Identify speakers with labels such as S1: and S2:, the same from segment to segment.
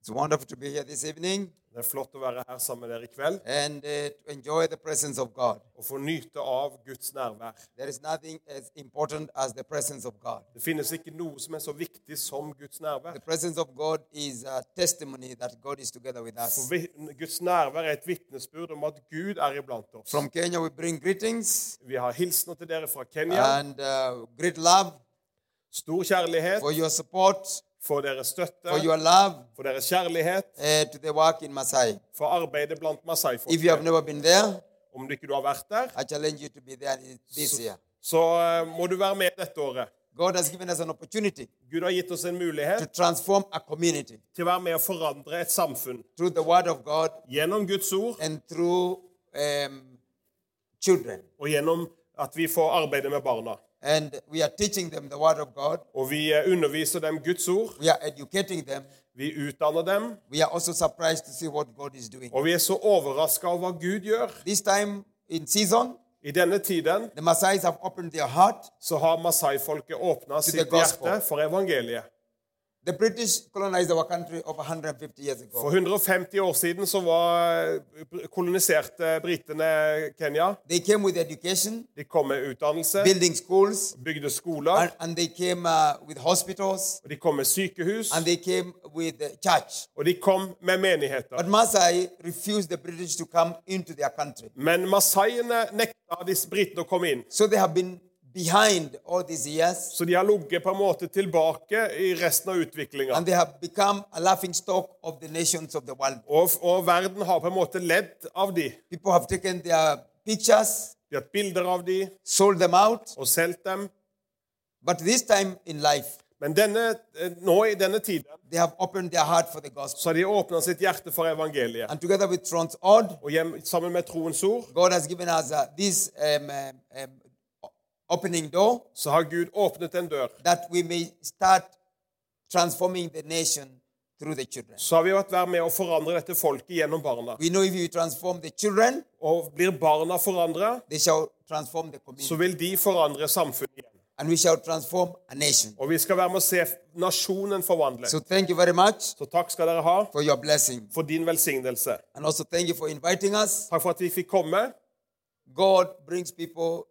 S1: It's wonderful to be here this evening
S2: Det er flott å være her sammen med dere i kveld
S1: and uh, to enjoy the presence of God.
S2: og få nyte av Guds nærvær.
S1: There is nothing as important as the presence of God.
S2: Det finnes ikke noe som er så viktig som Guds nærvær.
S1: The presence of God is a testimony that God is together with
S2: For
S1: us.
S2: vi- Guds nærvær er et vitnesbyrd om at Gud er iblant oss.
S1: From Kenya, we bring greetings
S2: Vi har hilsener til dere fra Kenya.
S1: and uh, great love
S2: Stor kjærlighet
S1: for your support,
S2: for deres
S1: for
S2: støtte,
S1: your love
S2: for deres kjærlighet,
S1: uh, to the work in Masai.
S2: for arbeidet blant
S1: If you have
S2: Masai-folket.
S1: never been there,
S2: Om du ikke du har vært der,
S1: I challenge you to be there this year.
S2: så eh, må du være med dette året.
S1: God has given us an opportunity
S2: Gud har gitt oss en
S1: to
S2: mulighet
S1: transform a community
S2: til å være med å forandre et samfunn
S1: through the Word of God
S2: gjennom Guds ord
S1: and through um, children.
S2: og gjennom at vi får arbeide med barna.
S1: And we are teaching them the Word of God.
S2: Og vi eh, underviser dem Guds ord,
S1: We are educating them.
S2: vi utdanner dem,
S1: We are also surprised to see what God is doing.
S2: og vi er så overraska over hva Gud gjør.
S1: This time in season,
S2: I denne tiden
S1: the Masais have opened their heart.
S2: så har masai-folket åpna
S1: the
S2: sitt
S1: gospel.
S2: hjerte for evangeliet.
S1: The British colonized our country over 150 years ago.
S2: For 150 år siden så var, eh, koloniserte britene Kenya.
S1: They came with education,
S2: De kom med utdannelse,
S1: building schools,
S2: bygde skoler,
S1: and, and they came uh, with hospitals,
S2: og de kom med sykehus,
S1: and they came with uh, church.
S2: og de kom med
S1: But
S2: menigheter.
S1: Masai refused the British to come into their country.
S2: Men masaiene nekta disse britene å komme inn.
S1: So they have been behind all these years,
S2: Så de har ligget på en måte tilbake i resten av utviklinga.
S1: and they have become a laughing stock of the nations of the world.
S2: Og, og verden har på en måte ledd av de.
S1: People have taken their pictures,
S2: De har hatt bilder av de
S1: sold them out,
S2: og solgt dem.
S1: but this time in life,
S2: Men denne, eh, nå i denne tiden
S1: they have opened their heart for the gospel.
S2: så har de åpna sitt hjerte for evangeliet.
S1: And together with Trans Odd,
S2: Og hjem, sammen med troens ord
S1: God has given us uh, this um, um, um, opening door
S2: så har Gud åpnet en dør.
S1: that we may start transforming the nation through the children.
S2: Så har vi vært vær med å forandre dette folket gjennom barna.
S1: We know if you transform the children,
S2: Og blir barna forandra,
S1: they shall transform the community,
S2: så vil de forandre samfunnet igjen.
S1: and we shall transform a nation.
S2: Og vi skal være med å se nasjonen forvandle.
S1: So thank you very much
S2: Så takk skal dere ha
S1: for your blessing.
S2: for din velsignelse.
S1: And also thank you for inviting us.
S2: Takk for at vi fikk komme.
S1: God brings people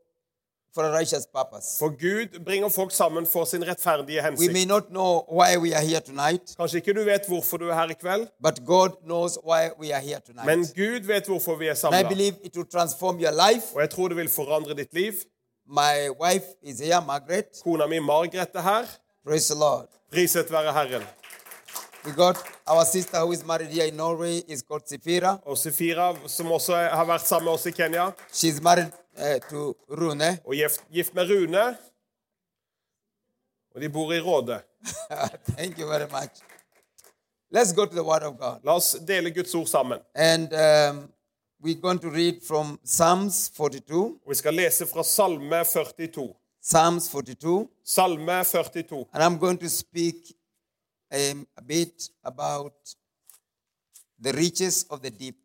S1: for a righteous purpose.
S2: For Gud bringer folk sammen for sin rettferdige
S1: We
S2: hensikt.
S1: may not know why we are here tonight,
S2: Kanskje ikke du vet hvorfor du er her i kveld,
S1: but God knows why we are here tonight.
S2: men
S1: And
S2: Gud vet hvorfor vi er
S1: I
S2: samla.
S1: believe it will transform your life.
S2: Og jeg tror det vil forandre ditt liv.
S1: My wife is here, Margaret.
S2: Kona mi Margrethe er her.
S1: Praise the Lord.
S2: Priset være Herren.
S1: We got our sister who is married here in Norway is called Sefira.
S2: Og Sefira, som også er- har vært sammen med oss i Kenya,
S1: She's married uh, to Rune.
S2: og gift, gift med Rune. Og de bor i Råde.
S1: Thank you very much. Let's go to the Word of God.
S2: La oss dele Guds ord sammen.
S1: And um, we're going to read from Psalms 42.
S2: Og Vi skal lese fra Salme 42.
S1: Psalms 42.
S2: Salme 42.
S1: And I'm going to speak um, a bit about the riches of the deep.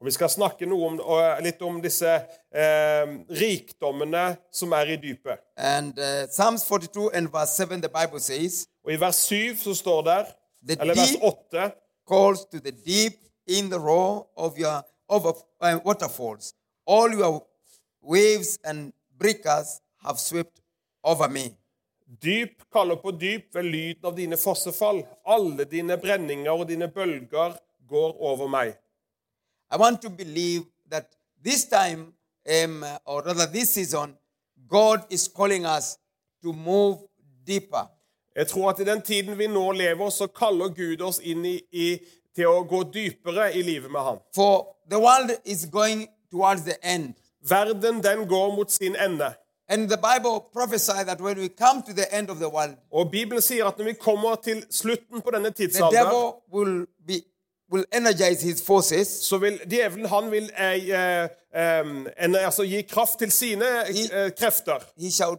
S2: Og Vi skal snakke noe om, og litt om disse eh, rikdommene som er i dypet.
S1: And uh, Psalms 42 and verse 7, the Bible says,
S2: Og I vers 7 så står
S1: The
S2: det, eller vers
S1: deep-
S2: 8
S1: calls to the deep in the roar of your over, uh, waterfalls. All your waves and breakers have swept over me.
S2: Dyp kaller på dyp ved lyden av dine fossefall. Alle dine brenninger og dine bølger går over meg.
S1: I want to believe that this time, um, or rather this season, God is calling us to move deeper.
S2: Jeg tror at i den tiden vi nå lever, så kaller Gud oss inn i, i, til å gå dypere i livet med Han.
S1: For the world is going towards the end.
S2: Verden, den går mot sin ende.
S1: And the Bible prophesied that when we come to the end of the world,
S2: Og Bibelen sier at når vi kommer til slutten på denne
S1: the
S2: tidsalder,
S1: devil will be will energize his forces.
S2: så vil djevelen han vil eh, eh, em, en, altså, gi kraft til sine eh, krefter.
S1: He shall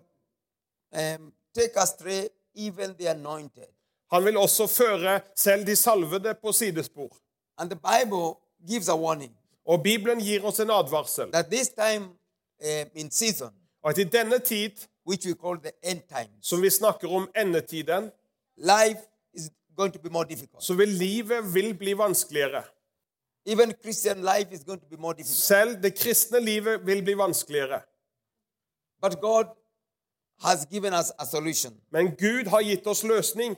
S1: um, take astray even the anointed.
S2: Han vil også føre selv de salvede på sidespor.
S1: And the Bible gives a warning
S2: Og Bibelen gir oss en advarsel.
S1: that this time um, in season,
S2: At i denne tid,
S1: which we call the end times,
S2: som vi snakker om endetiden,
S1: life is going to be more difficult.
S2: så vil livet vil bli vanskeligere.
S1: Even Christian life is going to be more difficult.
S2: Selv det kristne livet vil bli vanskeligere.
S1: But God has given us a solution.
S2: Men Gud har gitt oss løsning.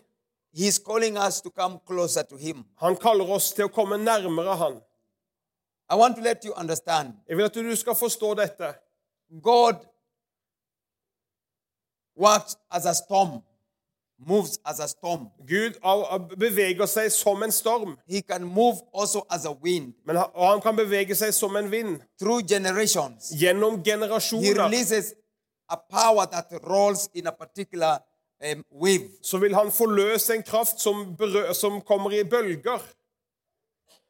S1: He's calling us to come closer to Him.
S2: Han kaller oss til å komme nærmere Han.
S1: I want to let you understand
S2: Jeg vil at du skal forstå dette.
S1: God works as a storm, moves as a storm.
S2: Gud av- av- beveger seg som en storm,
S1: He can move also as a wind
S2: men han, og han kan bevege seg som en vind.
S1: through generations.
S2: Gjennom
S1: He
S2: generasjoner
S1: releases a power that rolls in a particular um, wave.
S2: så vil han forløse en kraft som, berø som kommer i bølger.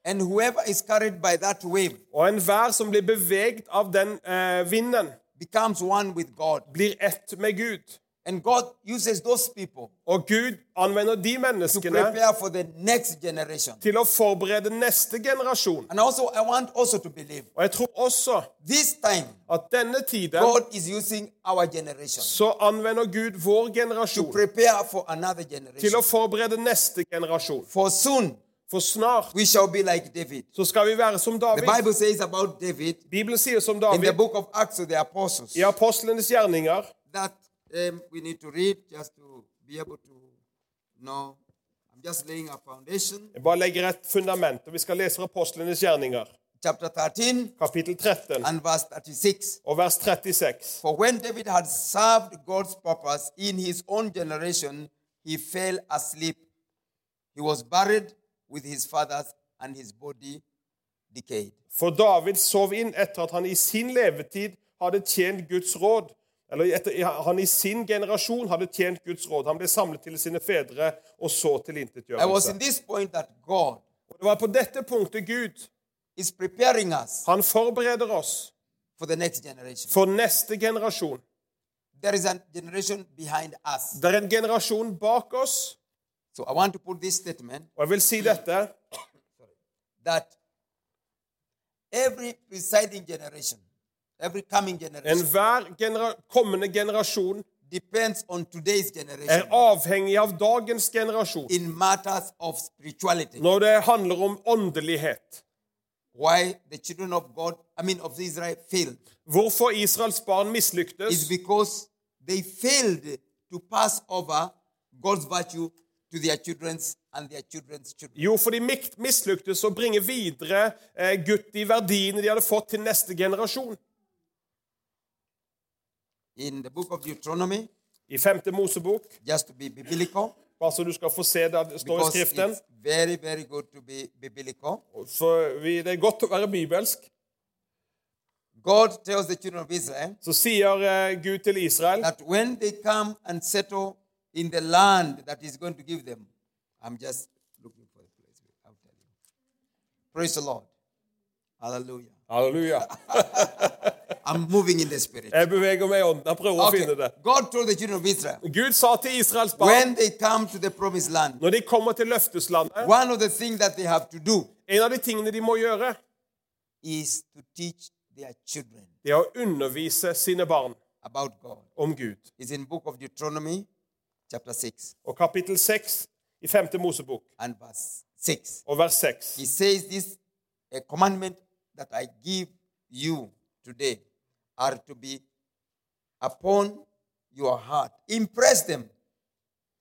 S1: And whoever is carried by that wave
S2: Og enhver som blir beveget av den eh, vinden,
S1: becomes one with God.
S2: blir ett med Gud.
S1: And God uses those people
S2: Og Gud anvender de
S1: to
S2: menneskene
S1: prepare for the next generation.
S2: til å forberede neste generasjon.
S1: And also, I want also to believe
S2: Og jeg tror også
S1: this time
S2: at denne tiden
S1: God is using our generation
S2: så anvender Gud vår
S1: to
S2: generasjon
S1: prepare for another
S2: til
S1: generation.
S2: å forberede neste generasjon.
S1: For soon
S2: For snart
S1: we shall be like David.
S2: så skal vi være som
S1: The
S2: David.
S1: Bible says about David
S2: Bibelen sier som
S1: in the
S2: David
S1: book of Acts of the Apostles
S2: i apostlenes gjerninger.
S1: that um, we need to read just to be able to know. I'm just laying a foundation.
S2: Jeg bare legger et fundament, og vi skal lese apostlenes gjerninger,
S1: Chapter 13
S2: kapittel 13
S1: and verse 36.
S2: og vers 36.
S1: For when David had served God's purpose in his own generation, he fell asleep. He was buried with his fathers, and his body decayed.
S2: For David sov inn etter at han i sin levetid hadde tjent Guds råd. Eller etter han i sin generasjon hadde tjent Guds råd. Han ble samlet til sine fedre og så til
S1: I was in
S2: intetgjørelse.
S1: this point that God
S2: Og Det var på dette punktet Gud
S1: is preparing us
S2: Han forbereder oss
S1: for the next generation.
S2: for neste generasjon.
S1: There is a generation behind us.
S2: Det er en generasjon bak oss,
S1: So I want to put this statement
S2: og jeg vil si dette
S1: that every presiding generation, every coming generation,
S2: Enhver genera kommende generasjon
S1: depends on today's generation
S2: er avhengig av dagens generasjon
S1: in matters of spirituality.
S2: når det handler om åndelighet.
S1: why the children of God, I mean of Israel, failed
S2: Hvorfor Israels barn
S1: is
S2: mislyktes,
S1: because they failed to pass over God's virtue to their children's and their children's children.
S2: Jo, for de mik- mislyktes å bringe videre eh, gutt i verdiene de hadde fått til neste generasjon.
S1: In the book of Deuteronomy,
S2: I 5. Mosebok,
S1: just to be biblical,
S2: bare så du skal få se det det står i
S1: because
S2: Skriften
S1: it's very, very good to be biblical,
S2: for vi, Det er godt å være bibelsk.
S1: God tells the children of Israel
S2: Så sier eh, Gud til Israel
S1: that when they come and settle in the land that He's going to give them, I'm just looking for a place. I'll tell you. Praise the Lord. Hallelujah.
S2: Halleluja.
S1: I'm moving in the spirit.
S2: Jeg beveger meg i ånden. Jeg prøver å
S1: Okay.
S2: finne det.
S1: God told the children of Israel
S2: Gud sa til Israels barn
S1: when they come to the promised land,
S2: når de kommer til løfteslandet
S1: one of the things that they have to do
S2: En av de tingene de må gjøre,
S1: is to teach their children
S2: det er å undervise sine barn
S1: about God.
S2: om Gud.
S1: It's in book of Deuteronomy, chapter 6
S2: Og kapittel 6 i 5. Mosebok
S1: and verse 6.
S2: og vers 6.
S1: He says, This a commandment that I give you today are to be upon your heart. Impress them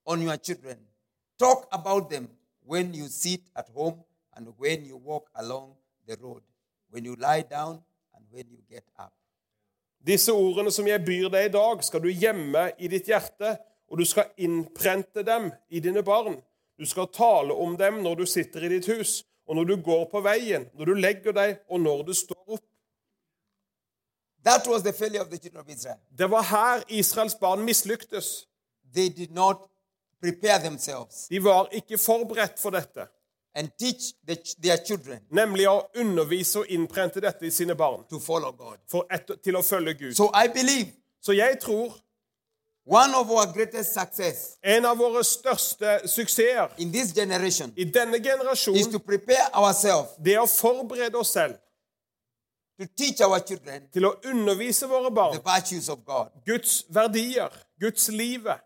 S1: on your children. Talk about them when you sit at home and when you walk along the road, when you lie down and when you get up.
S2: Disse ordene som jeg byr deg i dag, skal du gjemme i ditt hjerte, og du skal innprente dem i dine barn. Du skal tale om dem når du sitter i ditt hus, og når du går på veien, når du legger deg, og når du står opp.
S1: That was the failure of the children of Israel.
S2: Det var her Israels barn mislyktes.
S1: They did not prepare themselves
S2: De var ikke forberedt for dette,
S1: and teach the, ch- their children
S2: nemlig å undervise og innprente dette i sine barn
S1: to follow God.
S2: for etter, til å følge Gud.
S1: So I believe
S2: Så jeg tror
S1: one of our greatest success
S2: en av våre største suksesser
S1: in this generation
S2: i denne
S1: is to
S2: generasjonen,
S1: prepare ourselves
S2: det er å forberede oss selv
S1: to teach our children
S2: til å undervise våre barn
S1: the virtues of God.
S2: Guds verdier, Guds livet.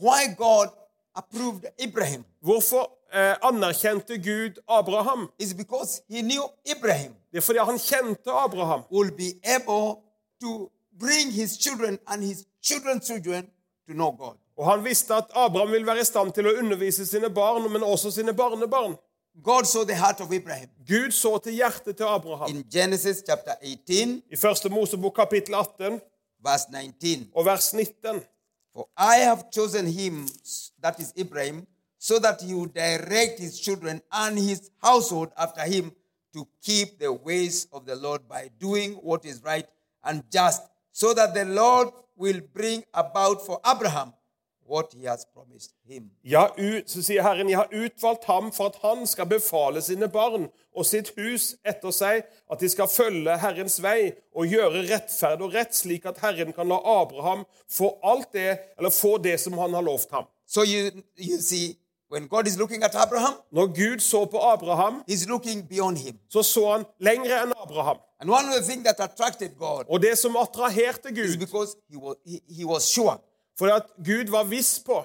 S1: Why God approved Abraham
S2: Hvorfor eh, anerkjente Gud Abraham?
S1: is because he knew Abraham
S2: Det er fordi han kjente Abraham.
S1: will be able to bring his children and his children's children to know God.
S2: Og han visste at Abraham vil være i stand til å undervise sine barn, men også sine barnebarn.
S1: God saw the heart of Abraham.
S2: Gud så til hjertet til Abraham.
S1: In Genesis chapter 18,
S2: I første Mosebok kapittel 18
S1: verse 19,
S2: og vers 19.
S1: For I have chosen him, that is Abraham, so that he would direct his children and his household after him to keep the ways of the Lord by doing what is right and just, so that the Lord will bring about for Abraham what he has promised him.
S2: Jeg har ut, så sier Herren, jeg har utvalgt ham for at han skal befale sine barn og sitt hus etter seg, at de skal følge Herrens vei og gjøre rettferd og rett, slik at Herren kan la Abraham få alt det, eller få det som han har lovt ham.
S1: So you, you see, when God is looking at Abraham,
S2: Når Gud så på Abraham,
S1: he's looking beyond him.
S2: så så han lengre enn Abraham.
S1: And one of the things that attracted God
S2: Og det som attraherte
S1: is
S2: Gud,
S1: because he was, he, he was sure
S2: fordi at Gud var viss på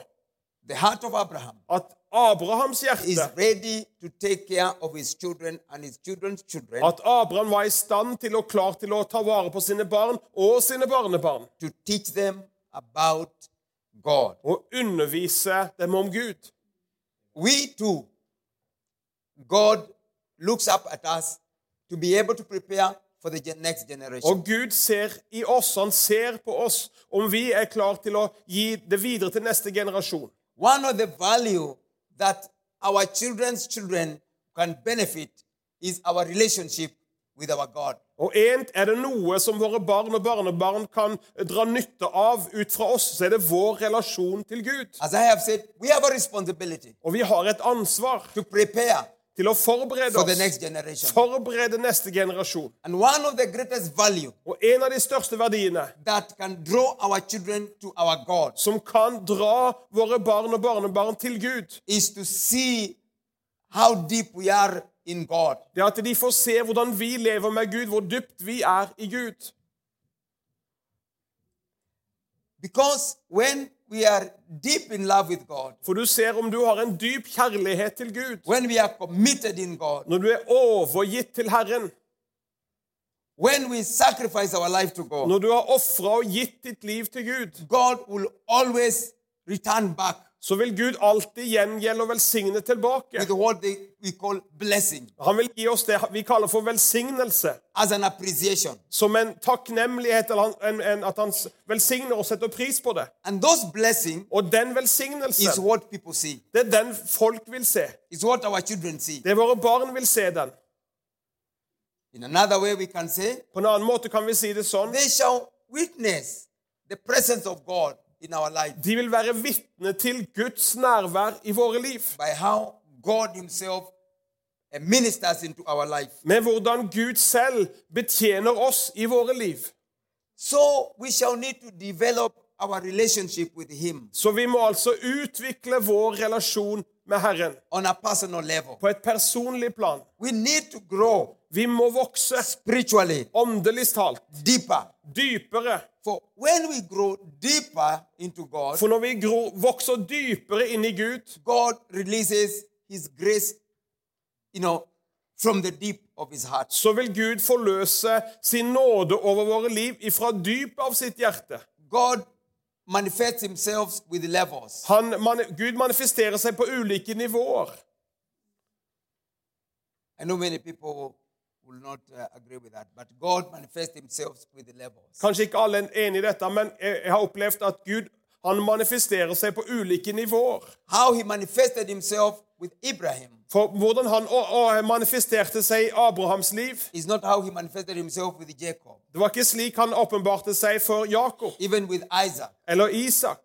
S1: the heart of Abraham
S2: at Abrahams
S1: is
S2: hjerte
S1: ready to take care of his children and his children's children,
S2: At Abraham var i stand til og klar til å ta vare på sine barn og sine barnebarn.
S1: to teach them about God.
S2: Og undervise dem om Gud.
S1: We too, God looks up at us to be able to prepare for the gen- next generation.
S2: Og Gud ser i oss, han ser på oss, om vi er klar til å gi det videre til neste generasjon.
S1: One of the value that our children's children can benefit is our relationship with our God.
S2: Og en, er det noe som våre barn og barnebarn kan dra nytte av ut fra oss, så er det vår relasjon til Gud.
S1: As I have said, we have a responsibility
S2: Og vi har et ansvar
S1: to prepare
S2: til å forberede
S1: for the next
S2: oss.
S1: generation.
S2: Forberede neste generasjon.
S1: And one of the greatest value
S2: Og en av de største verdiene
S1: that can draw our children to our God
S2: som kan dra våre barn og barnebarn til Gud.
S1: is to see how deep we are in God.
S2: Det er at de får se hvordan vi lever med Gud, hvor dypt vi er i Gud.
S1: Because when we are deep in love with God,
S2: For du ser om du har en dyp kjærlighet til Gud.
S1: when we are committed in God,
S2: Når du er overgitt til Herren,
S1: when we sacrifice our life to God,
S2: når du har ofra og gitt ditt liv til Gud,
S1: God will always return back
S2: så vil Gud alltid gjengjelde og velsigne tilbake.
S1: with what they, we call blessing
S2: Han vil gi oss det vi kaller for velsignelse,
S1: as an appreciation.
S2: som en takknemlighet, eller han- en, en, at han s- velsigner og setter pris på det.
S1: And those blessing
S2: Og den
S1: is
S2: velsignelsen,
S1: what people see.
S2: det er den folk vil se.
S1: It's what our children see.
S2: Det er våre barn vil se den.
S1: In another way, we can say
S2: På en annen måte kan vi si det sånn.
S1: they shall witness the presence of God in our life
S2: De vil være vitne til Guds nærvær i våre liv.
S1: by how God Himself eh, ministers into our life.
S2: Med hvordan Gud selv betjener oss i våre liv.
S1: So we shall need to develop our relationship with Him
S2: Så vi må altså utvikle vår relasjon med Herren
S1: on a personal level.
S2: på et personlig plan.
S1: We need to grow
S2: Vi må vokse
S1: spiritually
S2: åndelig talt,
S1: deeper.
S2: dypere.
S1: For when we grow deeper into God,
S2: For når vi gror, vokser dypere inn i Gud,
S1: God releases His grace, you know, from the deep of His heart.
S2: så vil Gud forløse sin nåde over våre liv ifra dypet av sitt hjerte.
S1: God manifests Himself with levels.
S2: Han, man, Gud manifesterer seg på ulike nivåer.
S1: I know many people will not uh, agree with that, but God manifests Himself with levels.
S2: Kanskje ikke alle er enig i dette, men jeg jeg har opplevd at Gud han manifesterer seg på ulike nivåer.
S1: How He manifested Himself with Abraham
S2: For hvordan han å, å, manifesterte seg i Abrahams liv
S1: is not how He manifested Himself with Jacob,
S2: Det var ikke slik han åpenbarte seg for Jakob
S1: even with Isaac,
S2: eller Isak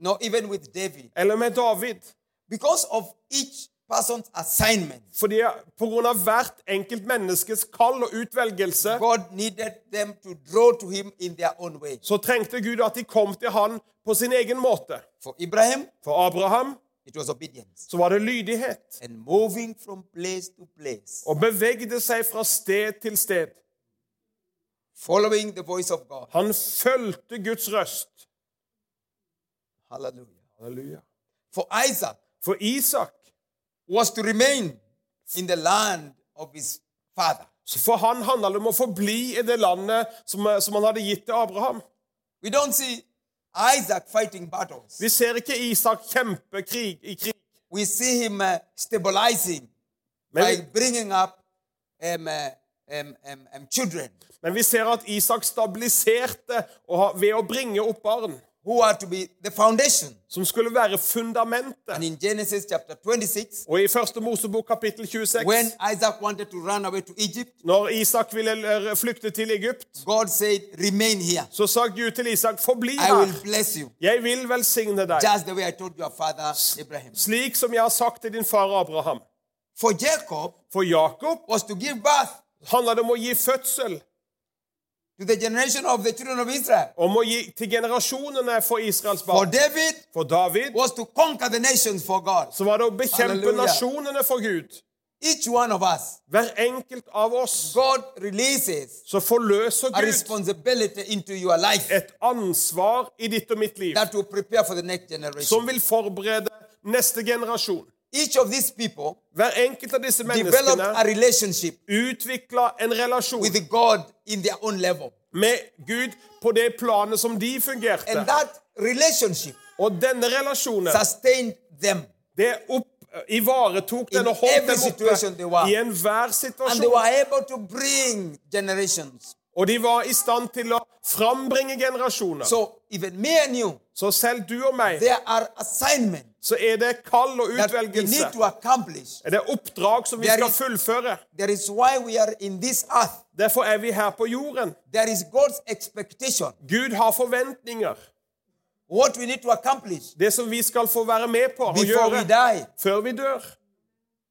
S1: no, even with David,
S2: eller med David.
S1: because of each person's assignment.
S2: Fordi på grunn av hvert enkelt menneskes kall og utvelgelse
S1: God needed them to draw to Him in their own way.
S2: så trengte Gud at de kom til han på sin egen måte.
S1: For Abraham,
S2: For Abraham
S1: it was obedience
S2: så var det lydighet.
S1: and moving from place to place,
S2: Og bevegde seg fra sted til sted.
S1: following the voice of God.
S2: Han fulgte Guds røst.
S1: Hallelujah.
S2: Halleluja.
S1: For Isaac
S2: For Isak
S1: was to remain in the land of his father.
S2: For han handla det om å forbli i det landet som, som han hadde gitt til Abraham.
S1: We don't see Isaac fighting battles.
S2: Vi ser ikke Isak kjempe krig i krig,
S1: We see him uh, stabilizing by
S2: men,
S1: bringing up um, uh, um, um, um, children
S2: men vi ser at Isak stabiliserte og, ha- ved å bringe opp barn,
S1: who are to be the foundation.
S2: som skulle være
S1: And
S2: fundamentet.
S1: in Genesis chapter 26,
S2: Og i første Mosebok kapittel 26,
S1: when Isaac wanted to run away to Egypt,
S2: når Isak ville eh, flykte til Egypt,
S1: God said, Remain here.
S2: så sa Gud til Isak, forbli
S1: I will
S2: her.
S1: bless you,
S2: Jeg vil velsigne deg,
S1: just the way I told your father Abraham.
S2: slik som jeg har sagt til din far Abraham.
S1: For Jacob
S2: For Jakob
S1: was to give birth
S2: handla det om å gi fødsel,
S1: to the generation of the children of Israel.
S2: om å gi til generasjonene for Israels barn.
S1: For David
S2: For David
S1: was to conquer the nations for God.
S2: så var det å bekjempe
S1: Halleluja.
S2: nasjonene for Gud.
S1: Each one of us,
S2: Hver enkelt av oss
S1: God releases
S2: så forløser
S1: a
S2: Gud
S1: responsibility into your life
S2: et ansvar i ditt og mitt liv
S1: that will prepare for the next
S2: som
S1: generation.
S2: vil forberede neste generasjon.
S1: Each of these people
S2: Hver enkelt av disse
S1: developed a
S2: menneskene
S1: relationship
S2: utvikla en relasjon
S1: with God in their own level.
S2: med Gud på det planet som de
S1: And
S2: fungerte.
S1: that relationship
S2: Og denne relasjonen,
S1: sustained them.
S2: det opp, ivaretok
S1: In
S2: den og holdt
S1: every
S2: dem
S1: situation they
S2: oppe
S1: were.
S2: i enhver
S1: And they were
S2: situasjon.
S1: able to bring generations.
S2: Og de var i stand til å frambringe generasjoner.
S1: So even me and you,
S2: Så selv du og meg
S1: there are assignments
S2: så er det kall og
S1: that we need to
S2: utvelgelse.
S1: accomplish.
S2: Det er oppdrag som vi
S1: There
S2: skal
S1: is-
S2: fullføre.
S1: That is why we are in this earth.
S2: Derfor er vi her på jorden.
S1: There is God's expectation.
S2: Gud har forventninger.
S1: What we need to accomplish
S2: Det som vi skal få være med på og
S1: before we
S2: gjøre
S1: die.
S2: før vi dør.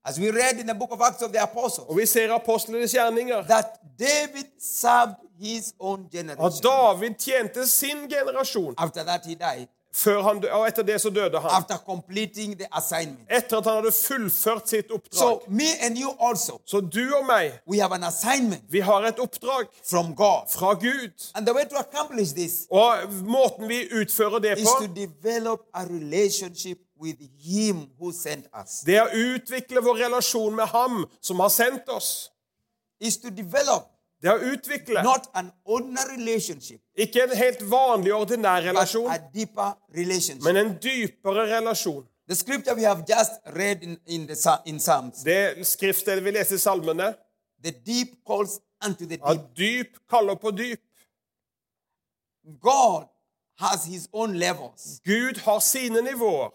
S1: As we read in the book of Acts of the Apostles,
S2: Og vi ser i apostlenes gjerninger
S1: that David served his own
S2: at
S1: generation.
S2: David tjente sin generasjon.
S1: After that, he died.
S2: Før han dø- og etter det så døde han.
S1: After completing the assignment.
S2: Etter at han hadde fullført sitt
S1: So,
S2: oppdrag.
S1: me and you also,
S2: Så du og meg,
S1: we have an assignment
S2: vi har et oppdrag
S1: from God.
S2: fra Gud.
S1: And the way to accomplish this
S2: Og måten vi utfører det
S1: is
S2: på,
S1: to develop a relationship with Him who sent us.
S2: det er å utvikle vår relasjon med Ham som har sendt oss.
S1: Is to develop
S2: Det er å utvikle
S1: not an ordinary relationship,
S2: ikke en helt vanlig, ordinær
S1: but
S2: relasjon,
S1: a deeper relationship.
S2: men en dypere relasjon.
S1: The scripture we have just read in, in the Psa- in Psalms,
S2: Det skriftstedet vi leser i salmene,
S1: the deep calls unto the deep.
S2: at dyp kaller på dyp.
S1: God has his own levels,
S2: Gud har sine nivåer,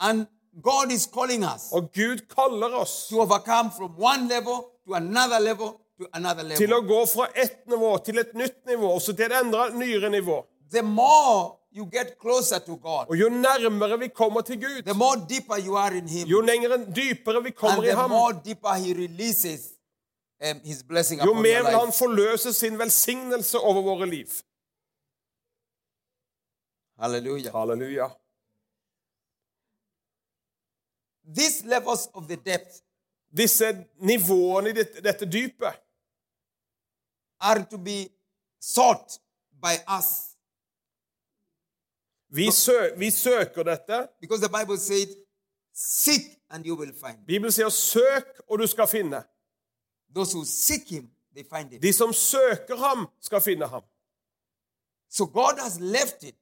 S1: and God is calling us
S2: og Gud kaller oss
S1: to overcome from one level to another level to another
S2: til å
S1: level.
S2: gå fra ett nivå til et nytt nivå, og så til et enda nyere nivå.
S1: The more you get closer to God,
S2: Og jo nærmere vi kommer til Gud,
S1: the more deeper you are in him,
S2: jo lengre, dypere vi
S1: and
S2: kommer i
S1: the
S2: ham,
S1: more deeper he releases um, his blessing
S2: jo
S1: upon
S2: mer
S1: your
S2: vil han
S1: life.
S2: forløse sin velsignelse over våre liv.
S1: Hallelujah.
S2: Halleluja.
S1: These levels of the depth
S2: Disse nivåene i dette, dette dypet
S1: are to be sought by us
S2: vi, sø, vi søker dette.
S1: Because the Bible said, Seek and you will find.
S2: Bibelen sier 'søk, og du skal finne'.
S1: Those who seek Him, they find Him.
S2: De som søker ham, skal finne ham.
S1: So God has left it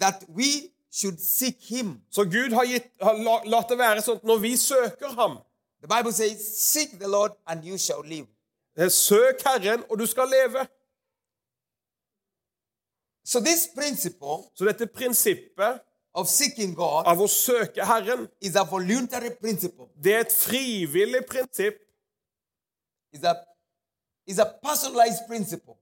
S1: that we should seek Him.
S2: Så Gud har, gitt, har la- latt det være sånn at når vi søker ham
S1: The Bible says, Seek the Lord and you shall live.
S2: eh, Søk Herren, og du skal leve.
S1: So, this principle
S2: Så dette prinsippet
S1: of seeking God
S2: av å søke Herren,
S1: is a voluntary principle,
S2: det er et frivillig prinsipp.
S1: is a, is a personalized principle.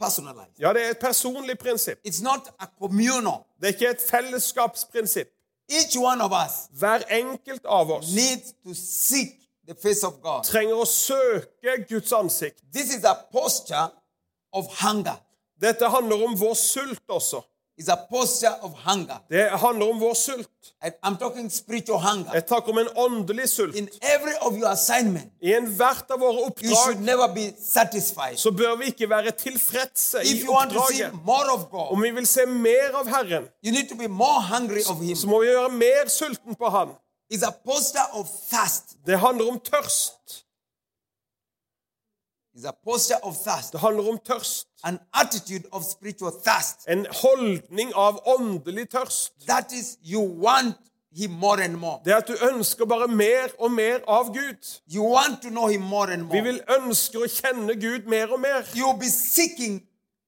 S1: Personalized.
S2: Ja, det er et personlig prinsipp.
S1: It's not a communal.
S2: Det er ikke et fellesskapsprinsipp.
S1: Each one of us
S2: Hver enkelt av oss
S1: needs to seek the face of God.
S2: trenger å søke Guds ansikt.
S1: This is a posture of hunger.
S2: Dette handler om vår sult også.
S1: is a posture of hunger.
S2: Det handler om vår sult.
S1: And I'm talking spiritual hunger.
S2: Jeg snakker om en åndelig sult.
S1: In every of your assignment,
S2: I enhvert av våre
S1: you should
S2: oppdrag
S1: never be satisfied.
S2: så bør vi ikke være tilfredse i
S1: If you want to see
S2: oppdraget.
S1: more of God,
S2: Om vi vil se mer av Herren,
S1: you need to be more hungry of Him.
S2: så må vi være mer sulten på Han.
S1: It's a posture of thirst.
S2: Det handler om tørst.
S1: It's a posture of thirst.
S2: Det handler om tørst.
S1: An attitude of spiritual thirst.
S2: En holdning av åndelig tørst.
S1: That is, you want Him more and more.
S2: Det er at du ønsker bare mer og mer av Gud.
S1: You want to know Him more and
S2: Vi
S1: more.
S2: vil ønske å kjenne Gud mer og mer.
S1: You'll be seeking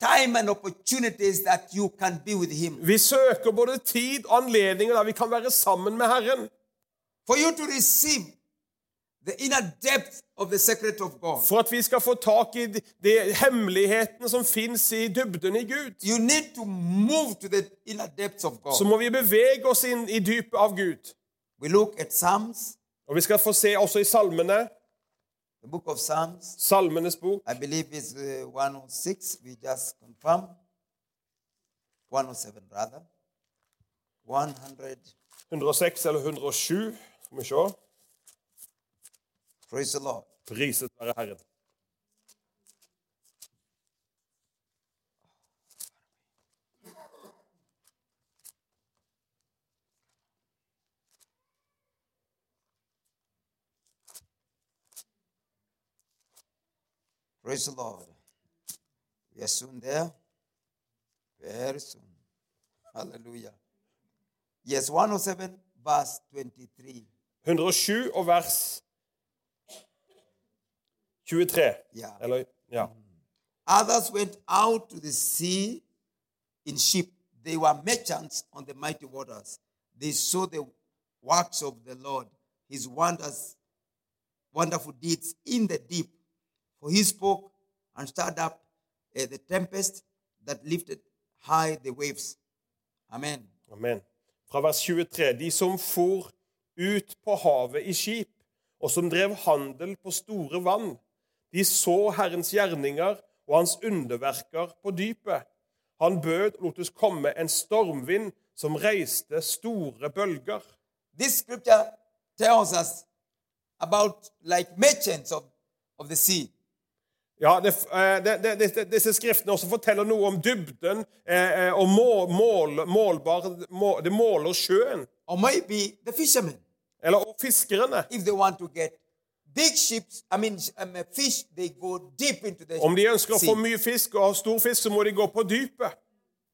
S1: time and opportunities that you can be with Him.
S2: Vi søker både tid og anledninger der vi kan være sammen med Herren.
S1: For you to receive the inner depth of the secret of God,
S2: For at vi skal få tak i de- de hemmelighetene som fins i dybden i Gud,
S1: you need to move to the inner depths of
S2: så
S1: God.
S2: må vi bevege oss inn i dypet av Gud.
S1: We look at Psalms,
S2: Og vi skal få se også i salmene,
S1: the book of Psalms.
S2: Salmenes bok,
S1: I believe it's uh, 106. We just confirm. 107, rather. 100.
S2: 106 eller 107. Skal vi se.
S1: Praise the Lord.
S2: Priset være Herren.
S1: Praise the Lord. We are soon there. Very soon. Hallelujah. Yes, 107, verse 23.
S2: 107 og vers 23.
S1: Ja.
S2: Eller, ja.
S1: Others went out to the sea in ship. They were merchants on the mighty waters. They saw the works of the Lord, his wonders, wonderful deeds in the deep. For he spoke and stirred up eh, the tempest that lifted high the waves. Amen.
S2: Amen. Fra vers 23. De som for ut på havet i skip, og som drev handel på store vann, de så Herrens gjerninger og hans underverker på dypet. Han bød og lot det komme en stormvind som reiste store bølger.
S1: This scripture tells us about like merchants of, of the sea.
S2: Ja, det, eh, det, det, disse- Disse skriftene også forteller noe om dybden eh, eh, og må, mål, målbar, må, det måler sjøen.
S1: Or maybe the fishermen.
S2: Eller og fiskerne.
S1: if they want to get big ships, I mean, sh- um, uh, fish, they go deep into the
S2: Om de ønsker å få
S1: sea.
S2: mye fisk og ha stor fisk, så må de gå på dypet.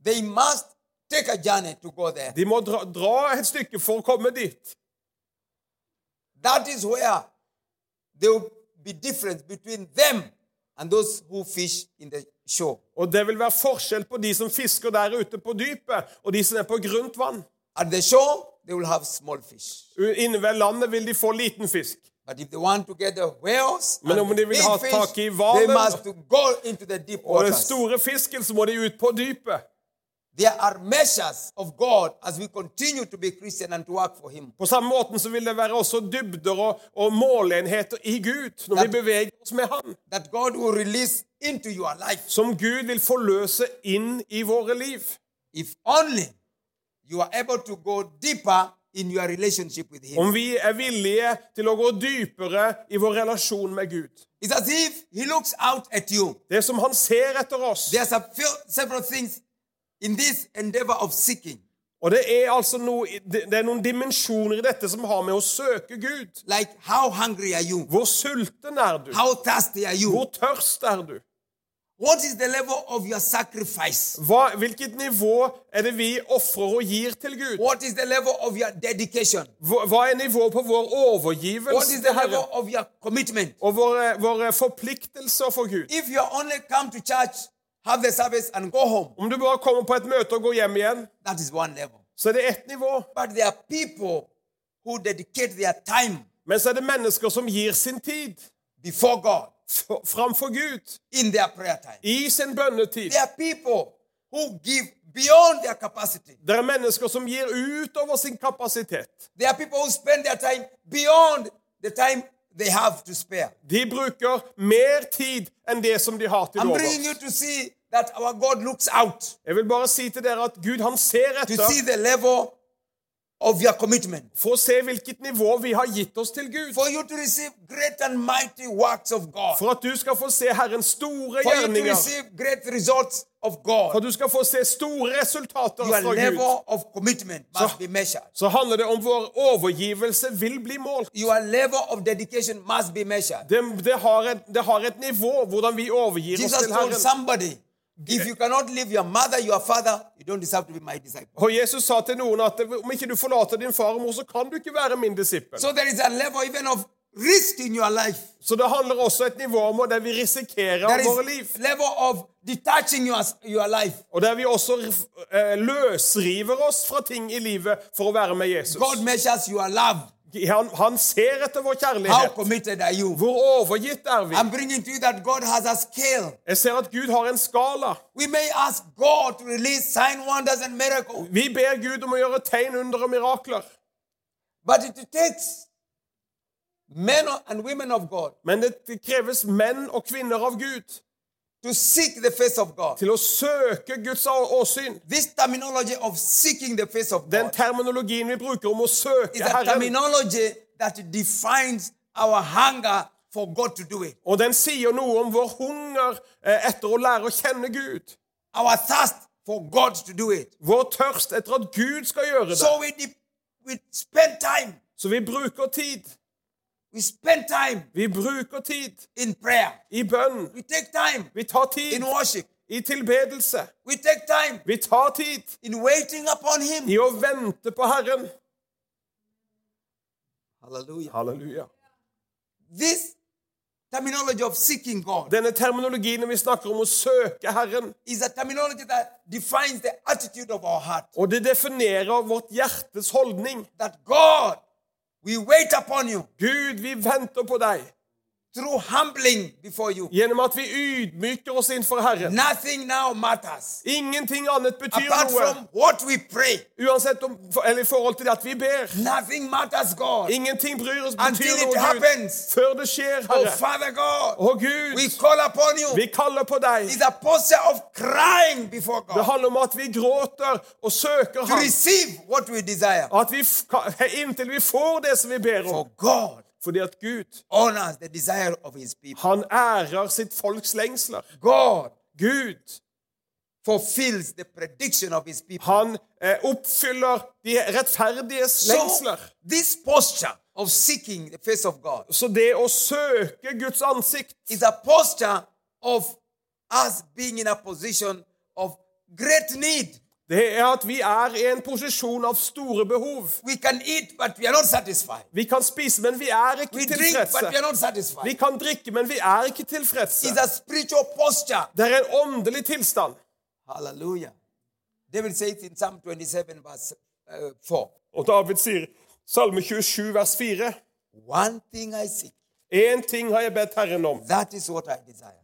S1: They must take a journey to go there.
S2: De må dra, dra et stykke for å komme dit.
S1: That is where there will be difference between them and those who fish in the shore.
S2: Og det vil være forskjell på de som fisker der ute på dypet, og de som er på grunt vann.
S1: At the shore, they will have small fish.
S2: U- Inne ved landet vil de få liten fisk.
S1: But if they want to get the whales
S2: Men om
S1: and
S2: de
S1: the
S2: vil
S1: big
S2: ha
S1: fish,
S2: tak i
S1: they
S2: hvalen-
S1: must go into the deep
S2: Og den
S1: waters.
S2: store fisken, så må de ut på dypet.
S1: There are measures of God as we continue to be Christian and to work for Him.
S2: På samme måten så vil det være også dybder og, og målenheter i Gud når vi beveger oss med Han.
S1: That God will release into your life.
S2: Som Gud vil forløse inn i våre liv.
S1: if only you are able to go deeper in your relationship with him
S2: Om vi er villige til å gå dypere i vår relasjon med Gud.
S1: it's as if he looks out at you
S2: Det som Han ser etter oss.
S1: there's a few, several things in this endeavor of seeking
S2: Og det er altså noe, det det er noen dimensjoner i dette som har med å søke Gud.
S1: like how hungry are you
S2: Hvor sulten er du?
S1: how thirsty are you
S2: Hvor tørst er du?
S1: what is the level of your sacrifice
S2: Hva, hvilket nivå er det vi ofrer og gir til Gud?
S1: what is the level of your dedication
S2: Hva, hva er nivået på vår
S1: what
S2: overgivelse
S1: is the
S2: til Herren?
S1: level of your commitment
S2: Og våre, våre forpliktelser for Gud?
S1: if you only come to church have the service and go home
S2: Om du bare kommer på et møte og går hjem igjen,
S1: that is one level
S2: så er det ett nivå.
S1: but there are people who dedicate their time
S2: Men så er det mennesker som gir sin tid
S1: before god
S2: f- framfor Gud
S1: in their prayer time.
S2: i sin bønnetid.
S1: There are people who give beyond their capacity.
S2: Det er mennesker som gir utover sin kapasitet.
S1: There are people who spend their time beyond the time they have to spare.
S2: De bruker mer tid enn det som de har til
S1: I'm bringing
S2: overs.
S1: you to see that our God looks out
S2: Jeg vil bare si til dere at Gud han ser
S1: to
S2: etter
S1: see the level of your commitment.
S2: for å se hvilket nivå vi har gitt oss til Gud.
S1: For you to receive great and mighty works of God.
S2: For at du skal få se Herrens
S1: For you
S2: store
S1: to
S2: gjerninger.
S1: receive great results of
S2: For
S1: God.
S2: at du skal få se store resultater
S1: Your
S2: fra Gud.
S1: level of commitment must be measured.
S2: Så handler det om vår overgivelse vil bli målt.
S1: Your level of dedication must be measured.
S2: Det, det, har, et, det har et nivå hvordan vi overgir oss
S1: Jesus
S2: til
S1: told
S2: Herren.
S1: somebody, if you cannot leave your mother, your father, you don't deserve to be my disciple.
S2: Og Jesus sa til noen at om ikke du forlater din far og mor, så kan du ikke være min disippel.
S1: So there is a level even of risk in your life.
S2: Så det handler også et nivå om der vi risikerer
S1: There
S2: våre liv.
S1: is level of detaching your, your life.
S2: Og der vi også eh, løsriver oss fra ting i livet for å være med Jesus.
S1: God measures your love.
S2: Han, han ser etter vår
S1: How
S2: kjærlighet.
S1: committed are you?
S2: Hvor overgitt er vi?
S1: I'm bringing to you that God has a scale.
S2: Jeg ser at Gud har en skala.
S1: We may ask God to release sign, wonders, and miracles,
S2: Vi ber Gud om å gjøre tegn, under og mirakler.
S1: but it takes men and women of God
S2: Men det kreves menn og kvinner av Gud
S1: to seek the face of God.
S2: til å søke Guds å- åsyn.
S1: This terminology of seeking the face of
S2: Den
S1: God
S2: terminologien vi bruker om å
S1: is
S2: søke
S1: a
S2: Herren,
S1: terminology that defines our hunger for God to do it,
S2: og den sier noe om vår hunger eh, etter å lære å kjenne Gud.
S1: our thirst for God to do it.
S2: Vår tørst etter at Gud skal gjøre det.
S1: So we, de- we spend time,
S2: Så vi bruker tid.
S1: we spend time
S2: Vi bruker tid
S1: in prayer,
S2: i bønn.
S1: we take time
S2: Vi tar
S1: in
S2: tid
S1: worship,
S2: i tilbedelse.
S1: we take time
S2: Vi tar tid
S1: in waiting upon Him.
S2: i å vente på Herren.
S1: Hallelujah.
S2: Halleluja.
S1: This terminology of seeking God
S2: Denne terminologien når vi snakker om å søke Herren,
S1: is a terminology that defines the attitude of our heart.
S2: og det definerer vårt hjertes holdning.
S1: That God, we wait upon you
S2: Gud, vi venter på deg
S1: through humbling before you.
S2: gjennom at vi ydmyker oss innfor Herren.
S1: Nothing now matters
S2: Ingenting annet betyr
S1: apart
S2: noe,
S1: from what we pray.
S2: uansett om, for- eller i forhold til det at vi ber.
S1: Nothing matters, God.
S2: Ingenting bryr oss betyr
S1: Until it
S2: noe, Gud,
S1: happens.
S2: før det skjer,
S1: Oh,
S2: Herre.
S1: Father God,
S2: Å, Gud,
S1: we call upon you.
S2: vi kaller på deg.
S1: It's a posture of crying before
S2: Det
S1: God
S2: handler om at vi gråter og søker
S1: to
S2: Ham.
S1: receive what we desire.
S2: At vi f- ka- inntil vi får det som vi ber om.
S1: For God
S2: Fordi at Gud,
S1: honors the desire of His people.
S2: han ærer sitt folks lengsler.
S1: God
S2: Gud,
S1: fulfills the prediction of His people.
S2: han eh, oppfyller de rettferdiges
S1: So,
S2: lengsler.
S1: this posture of seeking the face of God
S2: Så det å søke Guds ansikt,
S1: is a posture of us being in a position of great need.
S2: det er at vi er i en posisjon av store behov.
S1: We can eat, but we are not satisfied.
S2: Vi kan spise, men vi er
S1: We drink,
S2: ikke
S1: but we are
S2: tilfredse.
S1: not
S2: Vi
S1: satisfied.
S2: kan drikke, men vi er ikke tilfredse.
S1: It's a spiritual posture.
S2: Det er en åndelig tilstand.
S1: Hallelujah. David says in Psalm 27, verse uh, 4
S2: Og David sier, Salme 27, vers 4,
S1: One thing I seek,
S2: Én ting har jeg bedt Herren om,
S1: that is what I desire.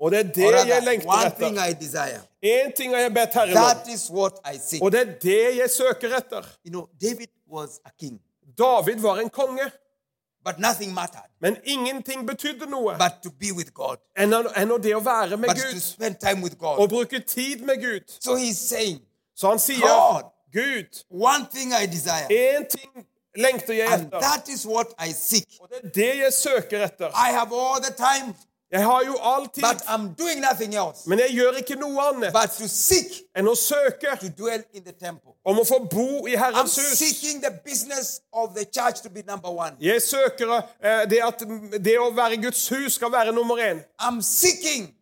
S2: og det er det
S1: Or rather,
S2: jeg lengter
S1: one thing
S2: etter.
S1: I desire,
S2: Én ting har jeg bedt Herren om,
S1: that is what I seek.
S2: og det er det jeg søker etter.
S1: You know, David was a king,
S2: David var en konge,
S1: but nothing mattered
S2: men ingenting betydde noe
S1: but to be with God,
S2: enn enn det å være med
S1: but to
S2: Gud
S1: spend time with
S2: og
S1: God.
S2: bruke tid med Gud.
S1: So he's saying,
S2: Så han sier,
S1: God,
S2: Gud,
S1: one thing I desire,
S2: én ting lengter jeg
S1: and
S2: etter,
S1: that is what I seek.
S2: og det er det jeg søker etter.
S1: I have all the time,
S2: Jeg har jo all
S1: but
S2: tid,
S1: I'm doing nothing else
S2: men jeg gjør ikke noe annet
S1: but to seek
S2: enn å søke
S1: to dwell in the temple.
S2: om å få bo i
S1: I'm
S2: Herrens hus.
S1: seeking the business of the church to be number one.
S2: Jeg søker eh, det at det å være Guds hus skal være nummer én.
S1: I'm seeking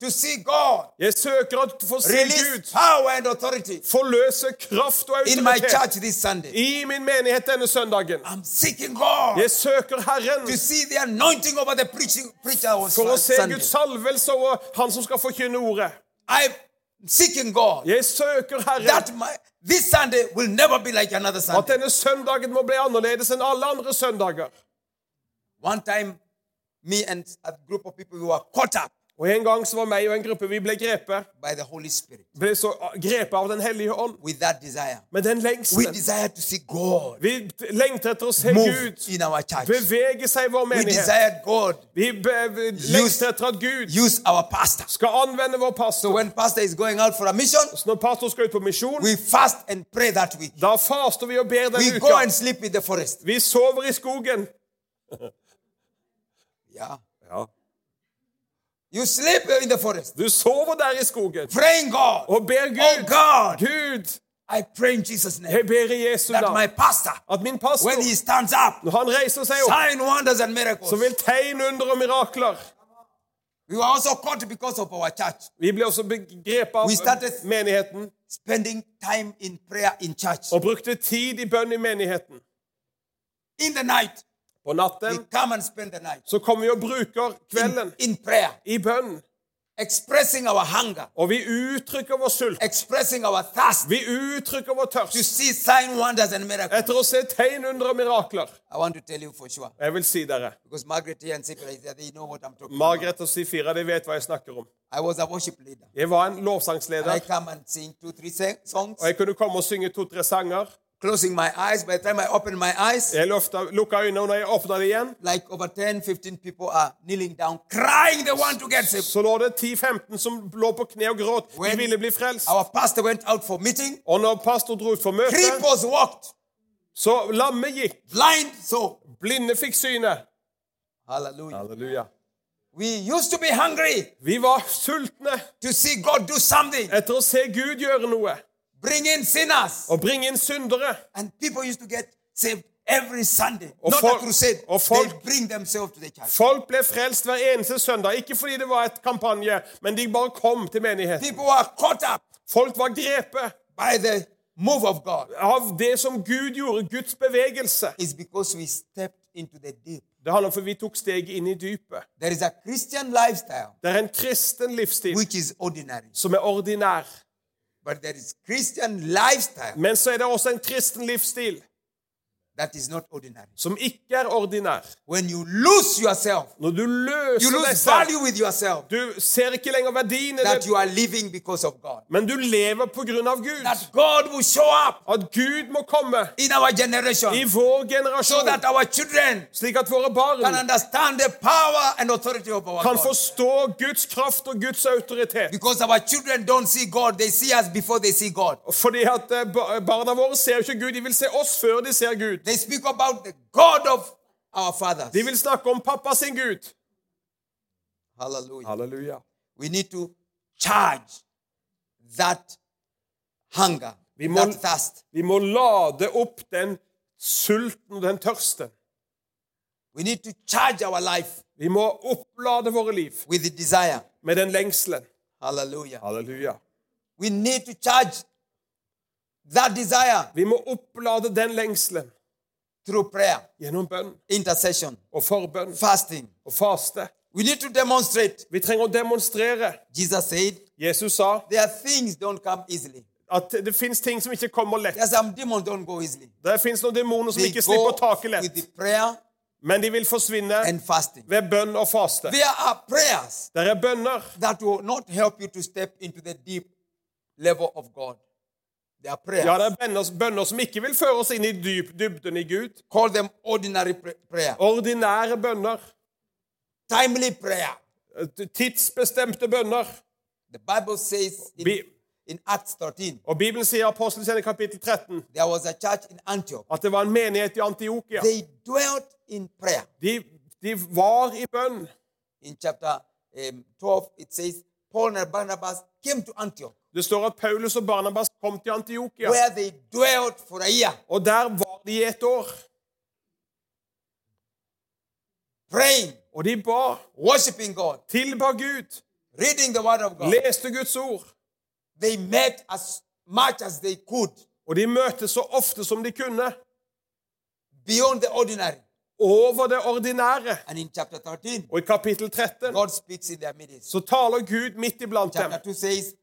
S1: to see God
S2: Jeg søker at få se Gud
S1: release power and authority
S2: forløse kraft og
S1: in my
S2: autoritet
S1: church this Sunday.
S2: i min menighet denne søndagen.
S1: I'm seeking God
S2: Jeg søker Herren
S1: to see the anointing over the preaching, preacher on
S2: for
S1: Sun-
S2: å se
S1: Sunday.
S2: Guds salvelse og han som skal forkynne ordet.
S1: I'm seeking God
S2: Jeg søker Herren
S1: that my, this Sunday will never be like another
S2: at
S1: Sunday.
S2: denne søndagen må bli annerledes enn alle andre søndager.
S1: One time, me and a group of people, we were caught up
S2: Og En gang så var meg og en gruppe vi ble grepet
S1: by the Holy Spirit
S2: ble så ah, grepet av Den hellige ånd.
S1: with that desire.
S2: Med den
S1: We
S2: lengselen.
S1: desire to see God
S2: Vi lengter etter å se
S1: move
S2: Gud
S1: in our church.
S2: bevege seg i vår
S1: We
S2: menighet.
S1: desire God
S2: Vi be- vi lengter etter at Gud
S1: use our pastor.
S2: skal anvende vår
S1: So
S2: pastor.
S1: when pastor is going out for a mission,
S2: Så når pastor skal ut på misjon,
S1: we fast and pray that week.
S2: da faster vi og ber den
S1: We go
S2: uka.
S1: and sleep in the forest.
S2: Vi sover i skogen.
S1: Yeah.
S2: Ja.
S1: You sleep in the forest,
S2: Du sover der i skogen
S1: praying God.
S2: og
S1: Oh
S2: ber Gud.
S1: God,
S2: Gud,
S1: I pray in Jesus' name
S2: jeg ber i Jesu
S1: that my
S2: navn
S1: pastor,
S2: at min pastor,
S1: when he stands up,
S2: når han reiser seg opp,
S1: sign wonders and
S2: så
S1: miracles.
S2: vil tegn, under og mirakler
S1: We were also caught because of our church
S2: Vi ble også begrepet av
S1: We started-
S2: menigheten
S1: spending time in prayer in church.
S2: og brukte tid i bønn i menigheten.
S1: In the night,
S2: På
S1: we
S2: natten
S1: come and spend the night
S2: så kommer vi og bruker
S1: in,
S2: kvelden
S1: in prayer,
S2: i bønn.
S1: expressing our hunger,
S2: Og vi uttrykker vår sult.
S1: expressing our thirst
S2: Vi uttrykker vår
S1: to
S2: tørst
S1: see sign wonders and miracles.
S2: etter å se tegn, under og mirakler.
S1: I want to tell you for sure
S2: Jeg vil si dere
S1: because Margaret here and Sipra is there, they know what I'm talking about.
S2: Margaret og Sifira de vet hva jeg snakker om.
S1: I was a worship leader.
S2: Jeg var en
S1: And I
S2: lovsangsleder,
S1: come and sing two, three sa- songs,
S2: og jeg kunne komme og synge to-tre sanger.
S1: closing my eyes. By the time I open my eyes,
S2: Jeg løfta, lukka øynene, og når jeg åpna det igjen,
S1: like over 10, 15 people are kneeling down, crying they want to get saved.
S2: så lå det 10-15 som lå på kne og gråt. De
S1: When-
S2: ville bli frelst.
S1: Our pastor went out for meeting.
S2: Og når pastor dro ut for møtet,
S1: Cripples walked,
S2: så lamme gikk,
S1: blind, so.
S2: blinde fikk syne.
S1: Hallelujah.
S2: Halleluja.
S1: We used to be hungry
S2: Vi var sultne
S1: to see God do something,
S2: etter å se Gud gjøre noe
S1: bring in sinners.
S2: og bringe inn syndere.
S1: And people used to get saved every Sunday.
S2: Of
S1: Not
S2: folk-
S1: a crusade.
S2: of
S1: They
S2: folk-
S1: bring themselves to the church.
S2: Folk ble frelst hver eneste søndag, ikke fordi det var et kampanje, men de bare kom til menigheten.
S1: People are caught up
S2: Folk var grepet
S1: by the move of God.
S2: av det som Gud gjorde, Guds bevegelse.
S1: It's because we stepped into the deep.
S2: Det handler om for vi tok steget inn i dypet.
S1: There is a Christian lifestyle
S2: Det er en kristen livsstil
S1: which is ordinary,
S2: som er ordinær.
S1: but there is Christian lifestyle
S2: Men så er det også en kristen livsstil
S1: that is not ordinary.
S2: som ikke er ordinær.
S1: When you lose yourself,
S2: Når du
S1: you
S2: løser deg
S1: lose
S2: selv
S1: value with yourself
S2: Du ser ikke lenger verdien i
S1: that
S2: det,
S1: you are living because of God.
S2: men du lever på grunn av Gud.
S1: That God will show up
S2: At Gud må komme
S1: in our generation
S2: i vår
S1: so
S2: generasjon,
S1: that our children
S2: slik at våre
S1: can
S2: barn
S1: understand the power and authority of our
S2: kan
S1: God.
S2: forstå Guds kraft og Guds autoritet.
S1: Because our children don't see God, they see us before they see God.
S2: Fordi at eh, ba- barna våre ser jo ikke Gud. De vil se oss før de ser Gud.
S1: They speak about the God of our fathers.
S2: De vil snakke om pappa sin Gud.
S1: Hallelujah.
S2: Halleluja.
S1: We need to charge that hunger,
S2: Vi må-
S1: that thirst.
S2: Vi må lade opp den sulten og den tørsten.
S1: We need to charge our life
S2: Vi må opplade våre liv
S1: with the desire.
S2: med den lengselen.
S1: Hallelujah.
S2: Halleluja.
S1: We need to charge that desire
S2: Vi må opplade den lengselen
S1: through prayer,
S2: gjennom bønn
S1: intercession,
S2: og forbønn
S1: fasting.
S2: og faste.
S1: We need to demonstrate.
S2: Vi trenger å demonstrere.
S1: Jesus said,
S2: Jesus sa
S1: There are things don't come easily.
S2: at det fins ting som ikke kommer lett.
S1: There are some demons don't go easily.
S2: Det fins noen demoner som
S1: They
S2: ikke
S1: go
S2: slipper taket
S1: with
S2: lett,
S1: the prayer
S2: men de vil forsvinne
S1: and fasting.
S2: ved bønn og faste.
S1: There are prayers
S2: Der er bønner.
S1: that will not help you to step into the deep level of God. There are prayers.
S2: Ja, det er bønner, bønner som ikke vil føre oss inn i dyp, dybden i Gud.
S1: Call them ordinary pr- prayer,
S2: Oh. Ordinære bønner. eh,
S1: timely prayer.
S2: Tidsbestemte bønner.
S1: The Bible says in,
S2: Bi-
S1: in Acts 13,
S2: Og Bibelen sier i Apostelens gjerning kapittel 13
S1: there was a church in Antioch.
S2: at det var en menighet i Antiokia.
S1: They dwelt in prayer.
S2: De, de var i bønn.
S1: In chapter um, 12, it says, Paul and Barnabas came to Antioch,
S2: Det står at Paulus og Barnabas kom til Antiokia,
S1: where they dwelt for a year,
S2: og der var de i et år.
S1: praying,
S2: Og de ba,
S1: worshiping God,
S2: tilba Gud,
S1: reading the Word of God.
S2: leste Guds ord.
S1: They met as much as they could
S2: Og de møtes så ofte som de kunne,
S1: beyond the ordinary.
S2: over det ordinære.
S1: And in chapter 13,
S2: Og i kapittel 13
S1: God speaks in their midst.
S2: så taler Gud midt iblant dem.
S1: Chapter 2 says,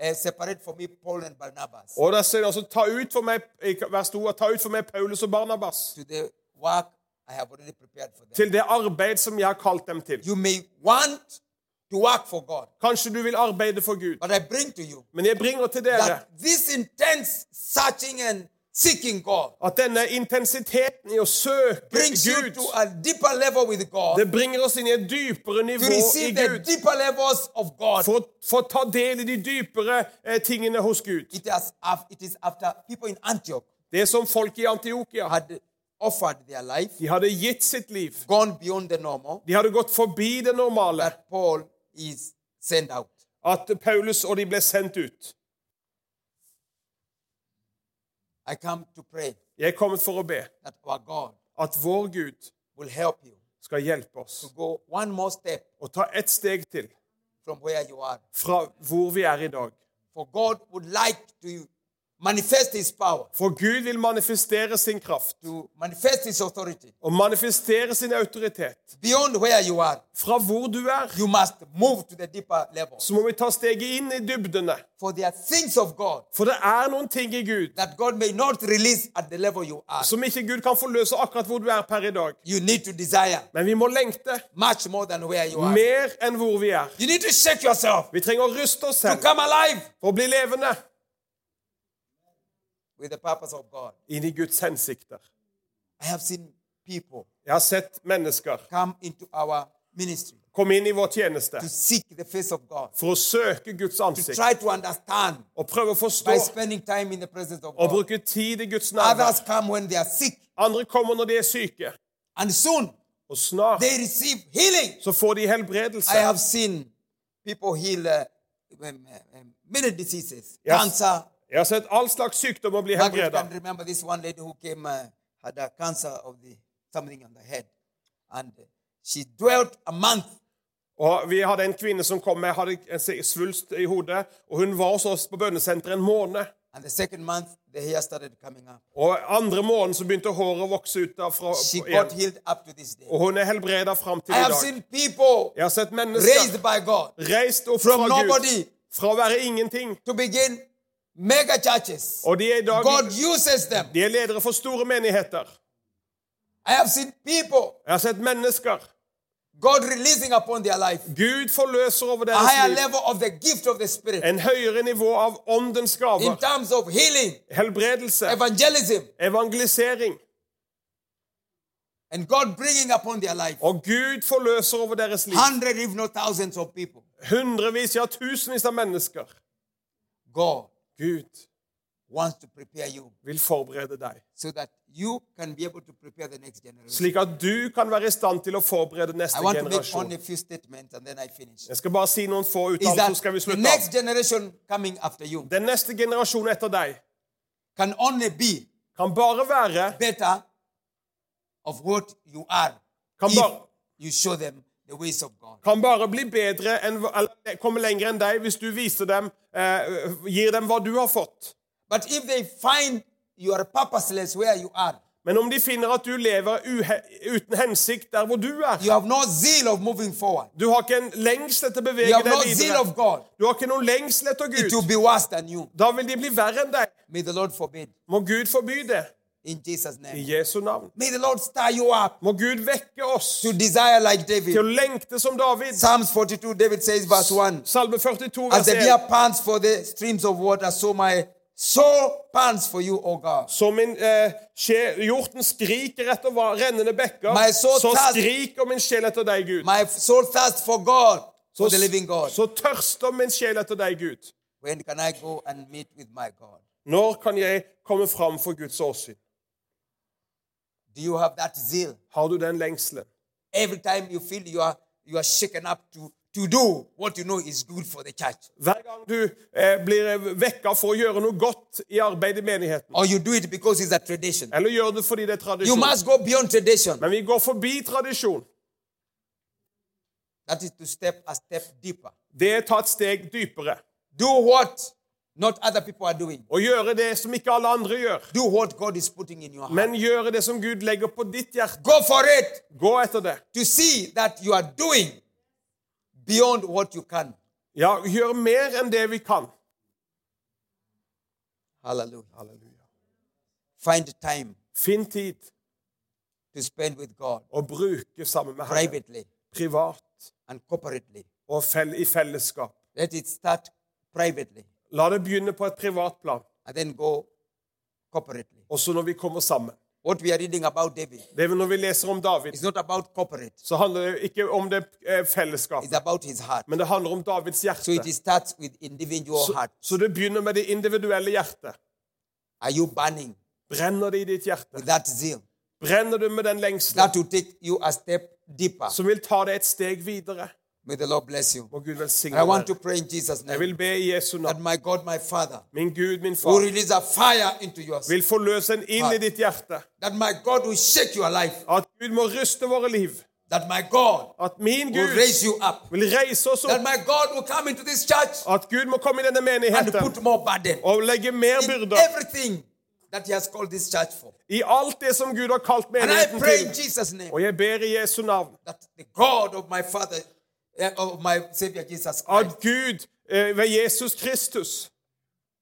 S1: eh, Separate for me Paul and Barnabas
S2: Og der sier han altså, ta ut for meg, i vers 2, ta ut for meg Paulus og Barnabas
S1: to the work I have already prepared for them.
S2: til det arbeid som jeg har kalt dem til.
S1: You may want to work for God.
S2: Kanskje du vil arbeide for Gud.
S1: But I bring to you
S2: Men jeg bringer til dere
S1: that this intense searching and seeking God
S2: at denne intensiteten i å søke
S1: brings you
S2: Gud,
S1: to a deeper level with God,
S2: det bringer oss inn i et dypere
S1: to
S2: nivå i
S1: receive the
S2: Gud.
S1: deeper levels of God.
S2: For å- for å ta del i de dypere eh, tingene hos Gud.
S1: It, has, af- it is after people in Antioch
S2: Det er som folk i Antiokia.
S1: had offered their life,
S2: De hadde gitt sitt liv.
S1: gone beyond the normal,
S2: De hadde gått forbi det normale.
S1: that Paul is sent out.
S2: At Paulus og de ble sendt ut.
S1: I come to pray
S2: Jeg er kommet for å be
S1: that our God
S2: at vår Gud
S1: will help you
S2: skal hjelpe oss
S1: to go one more step
S2: og ta et steg til
S1: from where you are.
S2: fra hvor vi er i dag.
S1: For God would like to manifest his power,
S2: For Gud vil manifestere sin kraft
S1: to manifest his authority.
S2: og manifestere sin autoritet.
S1: Beyond where you are,
S2: Fra hvor du er,
S1: you must move to the deeper level.
S2: så må vi ta steget inn i dybdene.
S1: For there are things of God
S2: For det er noen ting i Gud
S1: that God may not release at the level you are.
S2: som ikke Gud kan forløse akkurat hvor du er per i dag.
S1: You need to desire
S2: Men vi må lengte
S1: much more than where you are.
S2: mer enn hvor vi er.
S1: You need to shake yourself
S2: Vi trenger å ruste oss
S1: to
S2: selv
S1: come alive
S2: for å bli levende
S1: with the purpose of God.
S2: inn i Guds hensikter.
S1: I have seen people
S2: Jeg har sett mennesker
S1: come into our ministry
S2: komme inn i vår tjeneste
S1: to seek the face of God,
S2: for å søke Guds
S1: to
S2: ansikt
S1: try to understand
S2: og prøve å forstå
S1: by spending time in the presence of God.
S2: og bruke tid i Guds nærvær.
S1: Others come when they are sick,
S2: Andre kommer når de er syke,
S1: and soon
S2: og snart
S1: they receive healing.
S2: så får de
S1: I
S2: helbredelse.
S1: have seen people heal uh, um, um, many diseases,
S2: Yes.
S1: cancer.
S2: Jeg har sett all slags sykdommer bli
S1: Margaret
S2: helbreda.
S1: can remember this one lady who came uh, had a cancer of the something on the head, and uh, she dwelt a month.
S2: Og Vi hadde en kvinne som kom med hadde en si- svulst i hodet, og hun var hos oss på bønnesenteret en måned.
S1: And the second month, the hair started coming up.
S2: Og andre morgen så begynte håret å vokse ut derfra
S1: She got
S2: igjen.
S1: healed up to this day.
S2: Og hun er helbreda fram til
S1: I
S2: i
S1: have
S2: dag.
S1: seen people
S2: Jeg har sett mennesker
S1: raised by God
S2: reist opp
S1: from
S2: fra Gud,
S1: nobody
S2: fra å være ingenting.
S1: to begin mega churches.
S2: Og de er i dag
S1: God uses them.
S2: de er ledere for store menigheter.
S1: I have seen people,
S2: Jeg har sett mennesker.
S1: God releasing upon their life
S2: Gud forløser over
S1: a higher
S2: deres liv
S1: level of the gift of the Spirit
S2: en høyere nivå av åndens
S1: in
S2: gaver,
S1: terms of healing,
S2: helbredelse,
S1: evangelism,
S2: evangelisering.
S1: and God bringing upon their life
S2: Og Gud forløser over deres liv
S1: hundreds, if not thousands of people.
S2: hundrevis, ja tusenvis av mennesker.
S1: God
S2: Gud
S1: wants to prepare you
S2: vil forberede deg,
S1: so that you can be able to prepare the next generation.
S2: slik at du kan være i stand til å forberede
S1: I
S2: neste
S1: want to make
S2: generasjon.
S1: only a few statements and then I finish.
S2: Jeg skal bare si noen få
S1: Is
S2: uttalelser, så skal
S1: that
S2: vi
S1: the
S2: slutte
S1: next
S2: av.
S1: generation coming after you
S2: Den neste generasjonen etter deg
S1: can only be
S2: kan bare være
S1: better of what you are
S2: Come
S1: if
S2: on.
S1: you show them the ways of God.
S2: kan bare bli bedre enn, eller eh, komme lenger enn deg hvis du viser dem, eh, gir dem hva du har fått.
S1: But if they find you are purposeless where you are,
S2: Men om de finner at du lever uhe uten hensikt der hvor du er
S1: you have no zeal of moving forward,
S2: Du har ikke en lengsel etter å
S1: you
S2: bevege
S1: have
S2: deg
S1: no zeal
S2: videre.
S1: of God,
S2: Du har ikke noen lengsel etter
S1: it will
S2: Gud.
S1: be worse than you.
S2: Da vil de bli verre enn deg.
S1: May the Lord forbid.
S2: Må Gud forby det.
S1: In Jesus'
S2: I
S1: name.
S2: Jesu navn.
S1: May the Lord stir you up
S2: Må Gud vekke oss
S1: to desire like
S2: til
S1: David.
S2: å lengte som David.
S1: Psalms 42, David says, verse 1
S2: Salme 42,
S1: As
S2: vers
S1: the
S2: 1.
S1: deer pants for the streams of water, so my soul pants for you, O God.
S2: Som min eh, sje- hjorten skriker etter hva- rennende bekker,
S1: My soul
S2: så
S1: thirst-
S2: skriker min sjel etter deg, Gud.
S1: My soul thirsts for God, for the living
S2: Så,
S1: God.
S2: så tørster min sjel etter deg, Gud.
S1: When can I go and meet with my God?
S2: Når kan jeg komme fram for Guds åsyn?
S1: Do you have that zeal?
S2: Har du den lengselen?
S1: Every time you feel you are you are shaken up to, to do what you know is good for the church.
S2: Hver gang du eh, blir vekka for å gjøre noe godt i arbeid i menigheten,
S1: Or you do it because it's a tradition.
S2: eller gjør det fordi det er
S1: You
S2: tradisjon
S1: must go beyond tradition.
S2: Men vi går forbi tradisjon.
S1: That is to step a step deeper.
S2: Det er ta et steg dypere.
S1: Do what not other people are doing.
S2: Å gjøre det som ikke alle andre gjør,
S1: Do what God is putting in your heart.
S2: men gjøre det som Gud legger på ditt hjerte.
S1: Go for it
S2: Gå etter det.
S1: to see that you are doing beyond what you can.
S2: Ja, gjør mer enn det vi kan.
S1: Hallelujah. Find time
S2: Finn tid
S1: to spend with God
S2: og bruke sammen med Herren.
S1: privately
S2: Privat
S1: and corporately
S2: og fell i fellesskap.
S1: Let it start privately
S2: La det begynne på et privat plan,
S1: and then go corporately.
S2: også når vi kommer sammen.
S1: What we are reading about David
S2: Det er Når vi leser om David,
S1: is not about corporate,
S2: så handler det ikke om det eh, fellesskapet,
S1: it's about his heart.
S2: men det handler om Davids
S1: So it
S2: hjerte.
S1: starts with individual
S2: Så,
S1: heart.
S2: så det begynner med det individuelle hjertet.
S1: Are you burning
S2: Brenner det i ditt hjerte?
S1: with that zeal?
S2: Brenner du med den lengselen
S1: That will take you a step deeper.
S2: som vil ta deg et steg videre?
S1: May the Lord bless you.
S2: Må Gud velsigne
S1: I want to
S2: deg.
S1: pray in Jesus'
S2: Jeg
S1: name
S2: vil be i Jesu
S1: that
S2: navn.
S1: my God, my Father,
S2: Min Gud, min
S1: will
S2: far,
S1: release a fire into yours.
S2: vil forløse en ild i ditt hjerte.
S1: That my God will shake your life.
S2: At Gud må ryste våre liv.
S1: That my God
S2: At min
S1: will
S2: Gud
S1: raise you up.
S2: vil reise oss
S1: That
S2: opp.
S1: my God will come into this church
S2: At Gud må komme i denne
S1: and
S2: menigheten
S1: put more burden
S2: og legge mer
S1: in
S2: byrder
S1: everything that He has called this church for.
S2: i alt det som Gud har kalt
S1: And I
S2: menigheten
S1: pray in
S2: til.
S1: Jesus' name
S2: Og jeg ber i Jesu navn
S1: that the God of my Father, eh, of my Savior Jesus Christ,
S2: at Gud eh, ved Jesus Kristus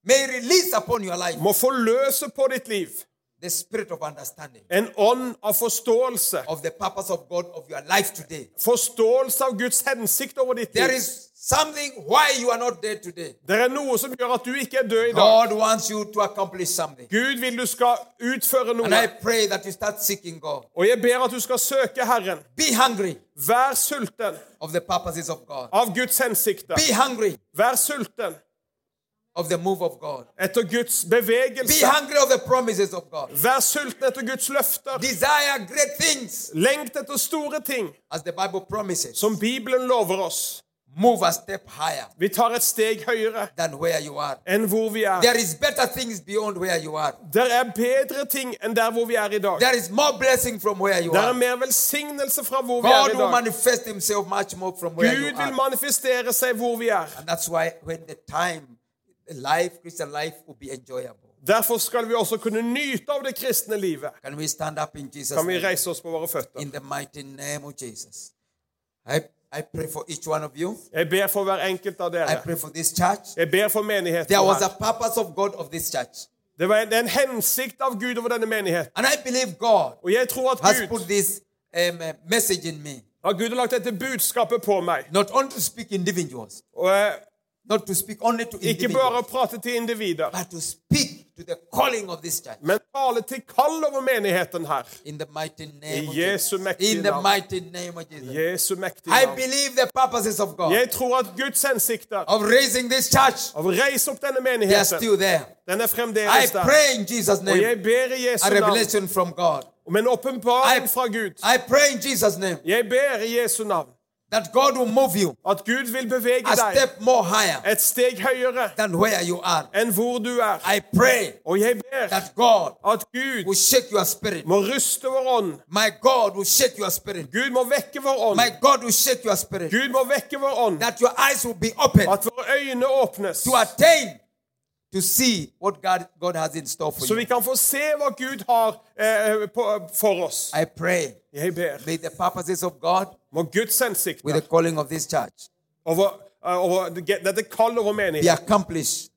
S1: may release upon your life
S2: må forløse på ditt liv
S1: the spirit of understanding
S2: en ånd av forståelse.
S1: of the purpose of God of your life today.
S2: Forståelse av Guds hensikt over ditt
S1: There
S2: liv.
S1: is something why you are not there today.
S2: Det er noe som gjør at du ikke er død i dag.
S1: God wants you to accomplish something.
S2: Gud vil du skal utføre
S1: And
S2: noe.
S1: I pray that you start seeking God.
S2: Og jeg ber at du skal søke Herren.
S1: Be hungry
S2: Vær sulten
S1: of the purposes of God.
S2: av Guds hensikter.
S1: Be hungry
S2: Vær sulten
S1: of the move of God.
S2: etter Guds
S1: Be
S2: bevegelse.
S1: hungry of the promises of God.
S2: Vær sulten etter Guds løfter.
S1: Desire great things
S2: Lengt etter store ting,
S1: as the Bible promises.
S2: som Bibelen lover oss.
S1: Move a step higher
S2: Vi tar et steg høyere
S1: than where you are.
S2: enn hvor vi er.
S1: There is better things beyond where you are.
S2: Der er bedre ting enn der hvor vi er i dag.
S1: There is more blessing from where you
S2: Der er
S1: are.
S2: mer velsignelse fra hvor vi er
S1: God
S2: i
S1: will
S2: dag.
S1: manifest himself much more from where you
S2: Gud vil
S1: are.
S2: manifestere seg hvor vi er.
S1: And that's why when the time, life, Christian life will be enjoyable.
S2: Derfor skal vi også kunne nyte av det kristne livet.
S1: Can we stand up in Jesus'
S2: Kan vi
S1: name?
S2: reise oss på våre føtter?
S1: In the mighty name of Jesus. I, I pray for each one of you.
S2: Jeg ber for hver enkelt av
S1: I
S2: dere.
S1: pray for this church.
S2: Jeg ber for menigheten.
S1: There was a
S2: her.
S1: purpose of God of this church.
S2: Det var en, det er en hensikt av Gud over denne menigheten.
S1: And I believe God
S2: Og jeg tror at
S1: has
S2: Gud,
S1: put this um, uh, message in me.
S2: at Gud har lagt dette budskapet på meg.
S1: Not only to speak individuals,
S2: Og eh,
S1: not to speak only to
S2: Ikke bare
S1: individuals,
S2: å prate til individer,
S1: but to speak to the calling of this church.
S2: men tale til kall over menigheten her.
S1: In the mighty name
S2: I
S1: of
S2: Jesu
S1: Jesus.
S2: mektige
S1: In the
S2: navn.
S1: mighty name of Jesus.
S2: Jesu mektige
S1: I
S2: navn.
S1: believe the purposes of God
S2: Jeg tror at Guds hensikter
S1: of raising this church,
S2: av å reise opp denne
S1: they are
S2: menigheten,
S1: still there.
S2: den er
S1: I
S2: fremdeles der.
S1: pray in Jesus'
S2: Og
S1: name
S2: jeg ber i Jesu
S1: a
S2: navn
S1: revelation from God.
S2: om en åpenbaring
S1: I-
S2: fra Gud.
S1: I pray in Jesus' name
S2: Jeg ber i Jesu navn
S1: that God will move you
S2: at Gud vil bevege
S1: a
S2: deg
S1: step more higher
S2: et steg høyere
S1: than where you are.
S2: enn hvor du er.
S1: I pray
S2: Og jeg ber
S1: that God
S2: at Gud
S1: will shake your spirit.
S2: må ryste vår ånd.
S1: My God will shake your spirit.
S2: Gud må vekke vår ånd.
S1: My God will shake your spirit.
S2: Gud må vekke vår ånd.
S1: That your eyes will be open
S2: At våre øyne åpnes.
S1: to attain to see what God, God has in store for
S2: Så vi
S1: you.
S2: kan få se hva Gud har eh, på, for oss.
S1: I pray,
S2: Jeg ber.
S1: may the purposes of God
S2: Må Guds hensikt
S1: with the calling of this church
S2: over, eh, over det- dette kall over
S1: be
S2: menigheten
S1: accomplished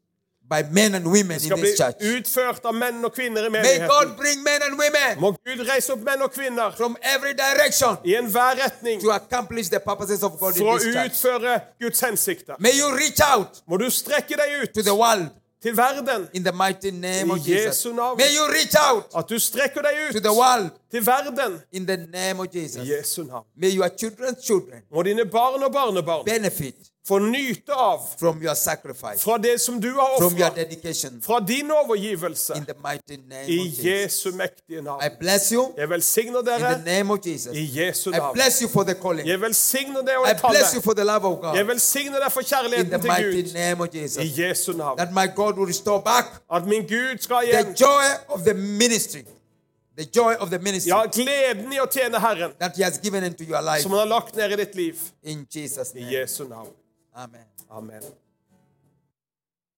S1: by men and women in
S2: skal bli
S1: this church.
S2: utført av menn og kvinner i
S1: May God
S2: menigheten.
S1: bring men and women
S2: Må Gud reise opp menn og kvinner
S1: from every direction
S2: i enhver retning
S1: to accomplish the purposes of God in
S2: for å
S1: this church.
S2: utføre Guds hensikter.
S1: May you reach out
S2: Må du strekke deg
S1: to the
S2: ut
S1: world
S2: til verden.
S1: in the mighty name of
S2: I
S1: Jesus.
S2: Jesu navn.
S1: May you reach out
S2: At du strekker deg
S1: to the
S2: ut
S1: world
S2: til verden.
S1: in the name of
S2: I
S1: Jesus.
S2: Jesu navn.
S1: May your children's children
S2: Må dine barn og barnebarn
S1: benefit
S2: få nyte av
S1: from your sacrifice,
S2: fra det som du har
S1: from your
S2: ofret,
S1: dedication
S2: fra din overgivelse.
S1: in the mighty name
S2: I
S1: of Jesus.
S2: Jesu mektige
S1: I
S2: navn.
S1: bless you
S2: Jeg velsigner
S1: in the
S2: dere
S1: name of
S2: i
S1: Jesus.
S2: Jesu
S1: I
S2: navn.
S1: bless you for the calling.
S2: Jeg velsigner deg og
S1: I
S2: det
S1: bless you
S2: tallet.
S1: for the love of
S2: Jeg
S1: God
S2: velsigner deg for
S1: in the
S2: kjærligheten til
S1: mighty
S2: Gud
S1: name of
S2: i
S1: Jesus.
S2: Jesu navn.
S1: That my God will restore back
S2: At min Gud skal
S1: the
S2: igjen
S1: joy of the ministry, the joy of the ministry
S2: Ja, gleden i å tjene Herren
S1: that He has given into your life
S2: som han har lagt ned i ditt liv.
S1: in Jesus'
S2: I
S1: name.
S2: Jesu navn.
S1: Amen.
S2: Amen.